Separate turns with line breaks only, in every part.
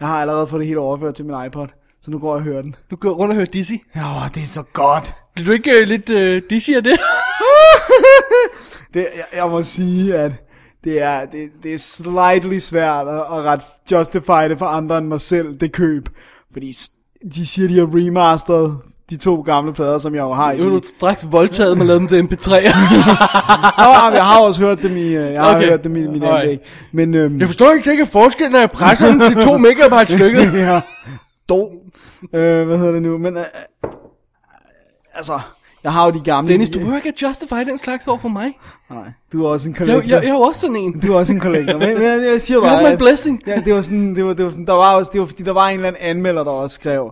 Jeg har allerede fået det hele overført til min iPod, så nu går jeg og hører den.
Du går rundt og hører Dizzy.
Åh, det er så godt.
Bliver du ikke øh, lidt øh, Dizzy af det?
Det, jeg, jeg må sige, at det er, det, det er slightly svært at, at ret justify det for andre end mig selv, det køb. Fordi s- de siger, de har remasteret de to gamle plader, som jeg jo har i.
Nu er du straks voldtaget med at lave dem til MP3.
Nå, jamen, jeg har også hørt dem i, øh, jeg har
Okay.
okay. hørt dem i min
Alright.
anlæg. Men, øhm,
jeg forstår ikke, det ikke er forskel, når jeg presser dem til 2 megabyte stykket.
ja, dog. Øh, hvad hedder det nu? Men, øh, øh, altså, jeg har jo de gamle.
Dennis, du behøver ikke at justify den slags over for mig.
Nej, du er også en
Jeg,
collector.
jeg, jeg er jo også sådan en.
Du er også en kollektor. Men, men jeg siger
You
bare...
have my
at-
blessing.
Ja, det var sådan, det var, det var sådan, der var også, det var fordi, der var en eller anden anmelder, der også skrev,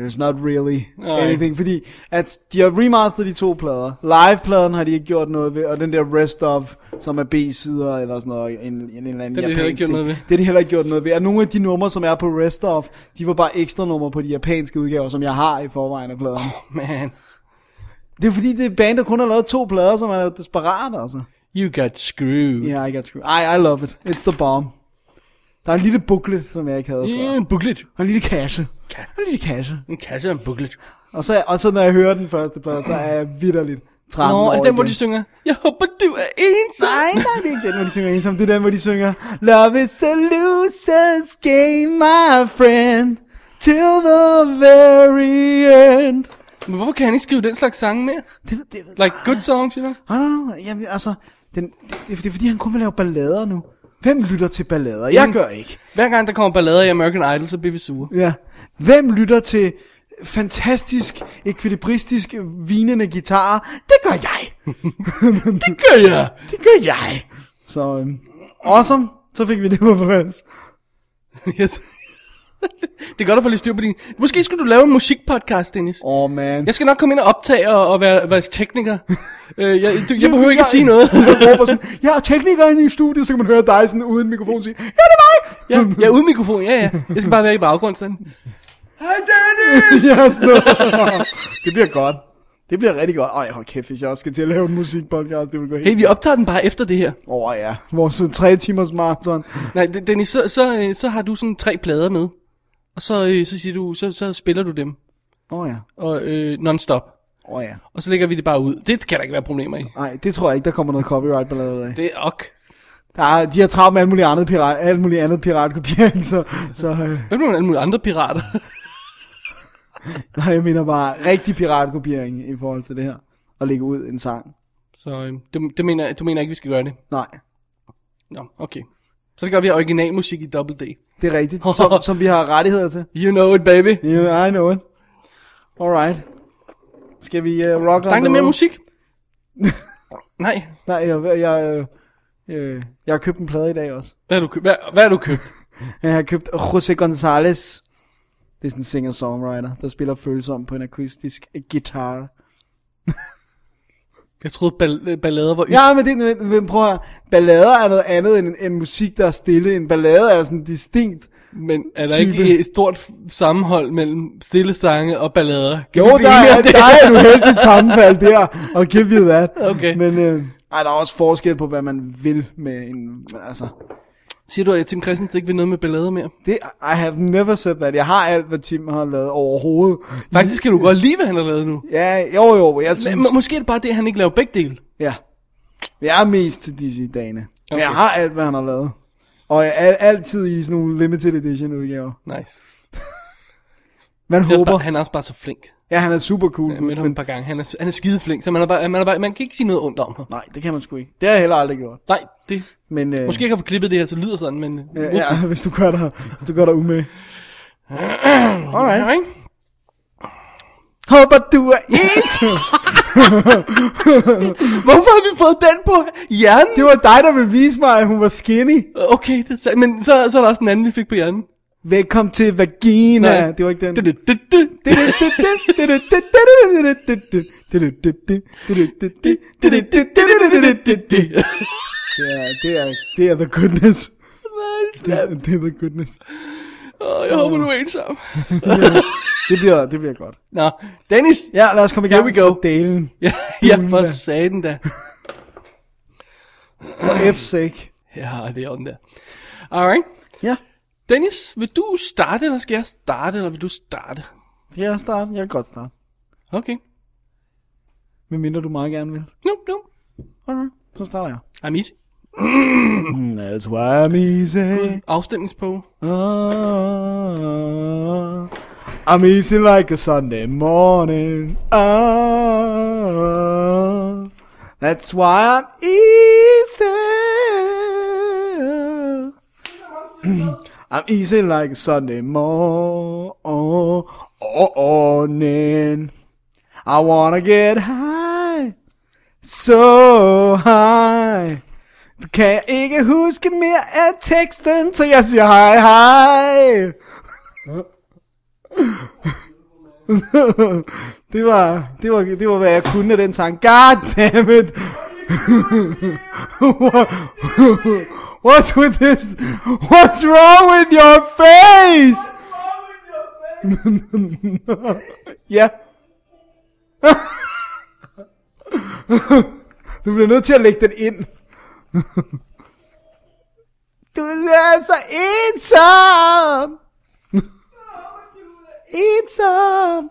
there's not really
Nej.
anything, fordi at de har remasteret de to plader. Live-pladen har de ikke gjort noget ved, og den der rest of, som er B-sider eller sådan noget, en, en, en eller anden
har de heller ikke
japansk
gjort
ting.
noget ved.
Det har de heller ikke gjort noget ved. Og nogle af de numre, som er på rest of, de var bare ekstra numre på de japanske udgaver, som jeg har i forvejen af pladen.
Man,
Det er fordi, det er et band, der kun har lavet to plader, som er desperat, altså.
you got screwed.
Yeah, I got screwed. I, I love it. It's the bomb. Der er en lille booklet, som jeg ikke havde
Yeah,
før.
en booklet.
Og en lille kasse.
Ka-
Og en lille kasse.
En kasse og en booklet.
Og så, og så når jeg hører den første plade, så er jeg vidderligt 13
Nå,
år
er det den,
igen.
hvor de synger? Jeg håber, du er ensom.
Nej, nej, det er ikke den, hvor de synger ensom. Det er den, hvor de synger Love is a loser's game, my friend Till the very end
Men hvorfor kan han ikke skrive den slags sange mere?
det, det,
Like good songs, you know?
I don't know. Jamen, altså, den, det, det, det, er fordi, han kun vil lave ballader nu. Hvem lytter til ballader? Jeg gør ikke.
Hver gang der kommer ballader i American Idol, så bliver vi sure.
Ja. Hvem lytter til fantastisk, ekvilibristisk, vinende guitar? Det gør jeg!
Det gør jeg.
det gør jeg! Så, øhm, awesome. Så fik vi det på plads.
Yes. det er godt at få lidt styr på din... Måske skulle du lave en musikpodcast, Dennis.
Åh, oh, man.
Jeg skal nok komme ind og optage og, og være, være tekniker. øh, jeg, du, jeg behøver ikke at sige noget.
jeg råber sådan, jeg er teknikeren i studiet, så kan man høre dig sådan uden mikrofon sige, ja, det er mig!
ja, jeg er uden mikrofon, ja, ja. Jeg skal bare være i baggrunden sådan. Hej Dennis!
ja, sådan noget. Det bliver godt. Det bliver rigtig godt. Ej, hold kæft, hvis jeg også skal til at lave en musikpodcast, det vil gå helt...
Hey, vi optager den bare efter det her.
Åh oh, ja, vores øh, tre timers maraton.
Nej, Den- Dennis, så, så, øh, så har du sådan tre plader med. Og så, øh, så, siger du, så, så spiller du dem.
Åh oh, ja,
Og øh, non-stop.
åh oh, ja.
Og så lægger vi det bare ud. Det kan der ikke være problemer i.
Nej, det tror jeg ikke, der kommer noget copyright ballade ud af.
Det er ok.
Der er, de har travlt med alt muligt andet, pirat, alt muligt andet piratkopiering, så, så øh,
Hvad med nogle alle mulige andre pirater?
nej, jeg mener bare rigtig piratkopiering i forhold til det her. At lægge ud en sang.
så øh, det, det mener, jeg- du mener ikke, vi skal gøre det?
Nej,
Nå, okay. Så det gør vi originalmusik i Double D.
det er rigtigt, som, som vi har rettigheder til.
You know it, baby.
Yeah, I know it. Alright. Skal vi uh, rock
Der er
on
lidt
the
mere
road?
musik. Nej.
Nej, jeg, jeg, øh, øh, jeg har købt en plade i dag også.
Hvad har du købt? Hvad, hvad har du købt?
Jeg har købt José González. Det er sådan en singer-songwriter, der spiller følsom på en akustisk guitar.
Jeg troede, ball- øh, ballader var...
Ja, men det men, men prøv at høre. Ballader er noget andet end, end musik, der er stille. En ballade er sådan distinkt.
Men er der
Type.
ikke et stort f- sammenhold mellem stille sange og ballader? Kan
Jo,
vi blive
der
enige
er,
om det?
der er et uheldigt sammenfald der, og give you that.
Okay.
Men øh, ej, der er også forskel på, hvad man vil med en... Altså,
Siger du, at Tim Christensen ikke vil noget med ballader mere?
det, I have never said that. Jeg har alt, hvad Tim har lavet overhovedet.
Faktisk kan du godt lide, hvad han har lavet nu.
Ja, jo, jo, jeg
Men,
synes...
må- måske er det bare det, at han ikke laver begge dele.
Ja. Jeg er mest til disse dagene. Men
Okay.
jeg har alt, hvad han har lavet. Og jeg er altid i sådan nogle limited edition udgaver.
Nice.
Man
Det er også
håber...
bare, han er også bare så flink.
Ja, han er super cool.
Jeg mødte ham et par gange. Han er, han er skide flink, så man, er bare, man, er bare, man kan ikke sige noget ondt om ham.
Nej, det kan man sgu ikke. Det har jeg heller aldrig gjort.
Nej, det...
Men, øh,
Måske jeg kan få klippet det her, så det lyder sådan, men... øh,
Ja,
we'll see.
ja, hvis du gør dig, hvis du gør dig umage. Alright.
Alright.
Håber du er ensom.
Hvorfor har vi fået den på hjernen?
Det var dig, der ville vise mig, at hun var skinny.
Okay, det er sandt. men så, så er der også en anden, vi fik på hjernen.
Velkommen til vagina. Nej. Det var ikke den.
Det, det, det, det.
Ja, det er, det er the goodness. Det er, det er the goodness.
Åh, jeg håber, du er ensom.
Det bliver, det bliver godt.
Nå, Dennis.
Ja, lad os komme i gang
Here we go.
med delen.
Ja, ja
Delen
for
der.
satan da.
For F's sake.
Ja, det er den der. Alright.
Ja.
Dennis, vil du starte, eller skal jeg starte, eller vil du starte?
Skal jeg starte? Jeg kan godt starte.
Okay.
Men mindre du meget gerne vil.
No, no.
Alright. Så starter jeg.
I'm easy.
Mm, That's why I'm easy.
Afstemningspå.
Ah, I'm easy like a Sunday morning. Ah, that's why I'm easy. I'm easy like a Sunday morning. I wanna get high, so high. Du kan ikke huske mere af teksten, så jeg siger hej hej. det, var, det, var, det var, hvad jeg kunne af den sang. God damn it. What's with this? What's wrong with your face? Ja. du bliver nødt til at lægge den ind. Du er så ensom. ensom.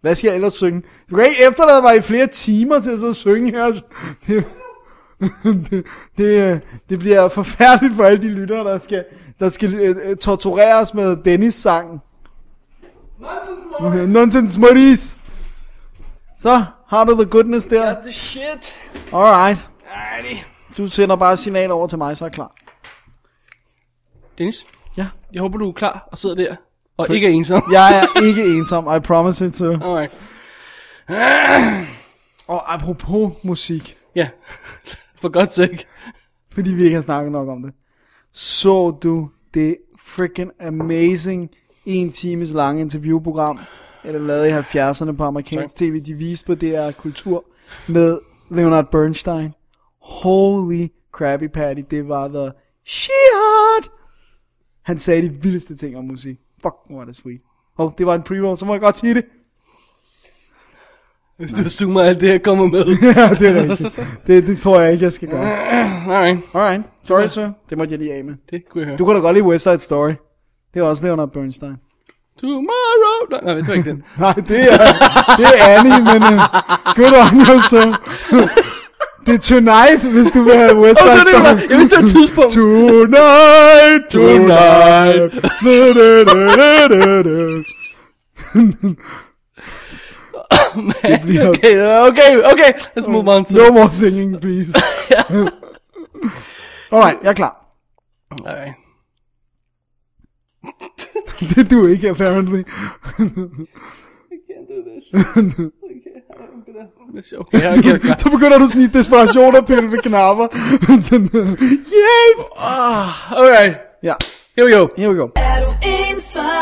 Hvad skal jeg ellers synge? Du kan ikke efterlade mig i flere timer til at så synge her. Det, det, det, øh, det bliver forfærdeligt for alle de lyttere, der skal, der skal øh, øh, tortureres med Dennis sang. Nonsense Maurice. Så har du the goodness der.
the shit.
Alright.
Alrighty.
Du sender bare signal over til mig, så er jeg klar.
Dennis,
Ja.
jeg håber, du er klar og sidder der. Og ikke er ensom.
Jeg er ikke ensom, I promise it to.
Alright.
Og apropos musik,
Ja. For godt sake.
fordi vi ikke har snakket nok om det. Så du det freaking amazing en times lange interviewprogram, eller lavet i 70'erne på amerikansk tv, de viste på DR Kultur med Leonard Bernstein. Holy crappy patty, det var the shit. Han sagde de vildeste ting om musik. Fuck, hvor er det sweet. Og oh, det var en pre-roll, så må jeg godt sige det.
Hvis du zoomer alt det her kommer med.
Ja, det er rigtigt. Det, det tror jeg ikke, jeg skal gøre.
Alright.
Alright, sorry sir. Det måtte jeg lige af med.
Det kunne jeg høre.
Du kunne da godt lide West Side Story. Det er også Leonard Bernstein.
Tomorrow. Nej, nej, det var ikke den.
Nej, det er, det er Annie, men uh, good on you, sir. det er Tonight, hvis du vil have West
Åh, det
Side
var det, det var.
Story.
Jeg vidste, det var et tidspunkt.
Tonight, tonight. Da, da, da, da, da. bliver-
okay, okay, okay. Let's move on to...
No more singing, please. Alright, jeg er klar.
Alright.
Det du ikke, apparently.
can't do this. okay, I'm gonna... Okay, jeg er klar.
Så begynder du sådan i desperation at pille ved knapper. sådan, hjælp!
Ah, alright.
Ja,
Here we go.
here we go.
Er du ensom?